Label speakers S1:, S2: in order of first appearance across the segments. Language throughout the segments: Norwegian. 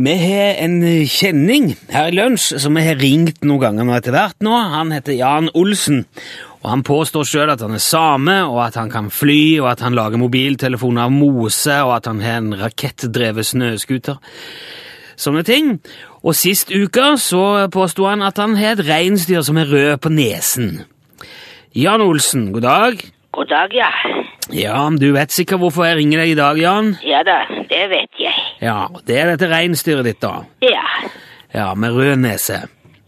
S1: Vi har en kjenning her i lunsj som vi har ringt noen ganger nå etter hvert. nå. Han heter Jan Olsen, og han påstår sjøl at han er same, og at han kan fly, og at han lager mobiltelefoner av mose, og at han har en rakettdrevet snøscooter. Sånne ting. Og sist uke så påsto han at han har et reinsdyr som er rød på nesen. Jan Olsen, god dag.
S2: God dag, ja.
S1: Ja, men du vet sikkert hvorfor jeg ringer deg i dag, Jan.
S2: Ja da, det vet jeg.
S1: Ja, Det er dette reinsdyret ditt, da.
S2: Ja.
S1: Ja, med rød nese.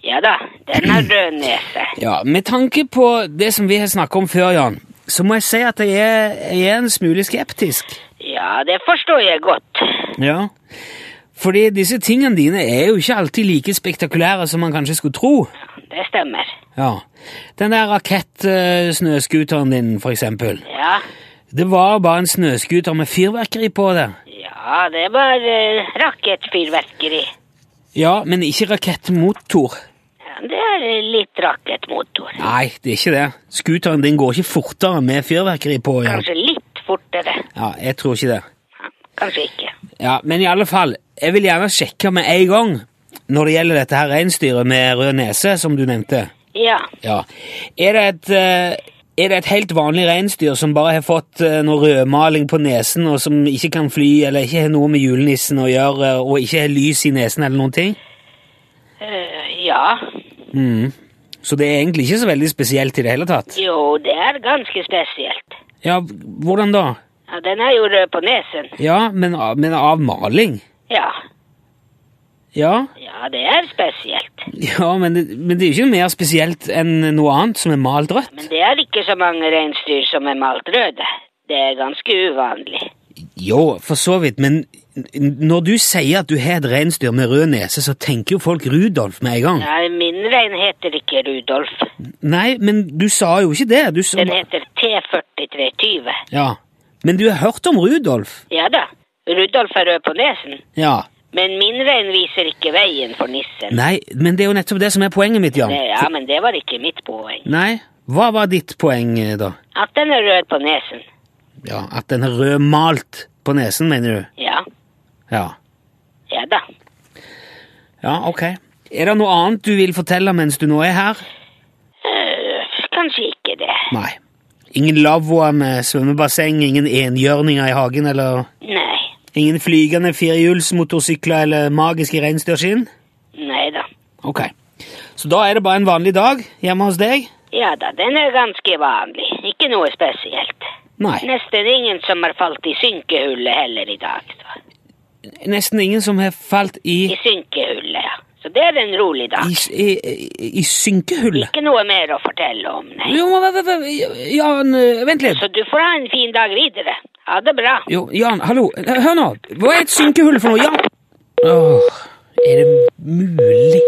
S2: Ja da, den har rød nese.
S1: Ja, Med tanke på det som vi har snakket om før, Jan, så må jeg si at jeg er, jeg er en smule skeptisk.
S2: Ja, det forstår jeg godt.
S1: Ja. Fordi disse tingene dine er jo ikke alltid like spektakulære som man kanskje skulle tro.
S2: Det stemmer.
S1: Ja. Den der rakettsnøscooteren din, for eksempel.
S2: Ja.
S1: Det var bare en snøscooter med fyrverkeri på det.
S2: Ja, det var uh, rakettfyrverkeri.
S1: Ja, men ikke rakettmotor.
S2: Ja, det er eh, litt rakettmotor.
S1: Nei, det er ikke det. Scooteren din går ikke fortere med fyrverkeri på. Jan.
S2: Kanskje litt fortere.
S1: Ja, jeg tror ikke det.
S2: Ja, Kanskje ikke.
S1: Ja, men i alle fall, jeg vil gjerne sjekke med en gang når det gjelder dette her reinsdyret med rød nese, som du nevnte.
S2: Ja.
S1: Ja. Er det et, eh, er det et helt vanlig reinsdyr som bare har fått eh, noe rødmaling på nesen, og som ikke kan fly, eller ikke har noe med julenissen å gjøre, og ikke har lys i nesen eller noen ting? Mm.
S2: Eh, ja.
S1: Så det er egentlig ikke så veldig spesielt i det hele tatt.
S2: Jo, det er ganske spesielt.
S1: Ja, hvordan da?
S2: Ja, den er jo rød på nesen.
S1: Ja, men, av- men av maling?
S2: Ja.
S1: Ja,
S2: Ja, det er spesielt.
S1: ja men, det, men det er jo ikke mer spesielt enn noe annet som er malt rødt.
S2: Men det er ikke så mange reinsdyr som er malt røde. Det er ganske uvanlig.
S1: Jo, for så vidt, men n- når du sier at du har et reinsdyr med rød nese, så tenker jo folk Rudolf med en gang.
S2: Ja, min rein heter ikke Rudolf.
S1: Nei, men du sa jo ikke det. Du sa
S2: Den heter T4320.
S1: Ja. Men du har hørt om Rudolf?
S2: Ja da, Rudolf er rød på nesen.
S1: Ja.
S2: Men min rein viser ikke veien for nissen.
S1: Nei, men det er jo nettopp det som er poenget mitt, Jan.
S2: Det, ja, men det var ikke mitt poeng.
S1: Nei, hva var ditt poeng, eh, da?
S2: At den er rød på nesen.
S1: Ja, At den er rødmalt på nesen, mener du?
S2: Ja,
S1: Ja.
S2: ja da.
S1: Ja, ok. Er det noe annet du vil fortelle mens du nå er her?
S2: Øh, kanskje ikke det.
S1: Nei. Ingen lavvoer med svømmebasseng, ingen enhjørninger i hagen, eller
S2: Nei,
S1: Ingen flygende firehjulsmotorsykler eller magiske reinsdyrskinn?
S2: nei da.
S1: Ok. Så da er det bare en vanlig dag hjemme hos deg?
S2: Ja da, den er ganske vanlig. Ikke noe spesielt.
S1: Nei.
S2: Nesten ingen som har falt i synkehullet heller i dag. Så.
S1: Nesten ingen som har falt i
S2: I synkehullet, ja. Så det er en rolig dag.
S1: I, i, i, i synkehullet?
S2: Ikke noe mer å fortelle om, nei.
S1: Jo, men, men, men, Jan, eh, vent litt.
S2: Så du får ha en fin dag videre. Ha det bra.
S1: Jo, Jan, hallo. Hør nå. Hva er et synkehull for noe? Jan Åh, er det mulig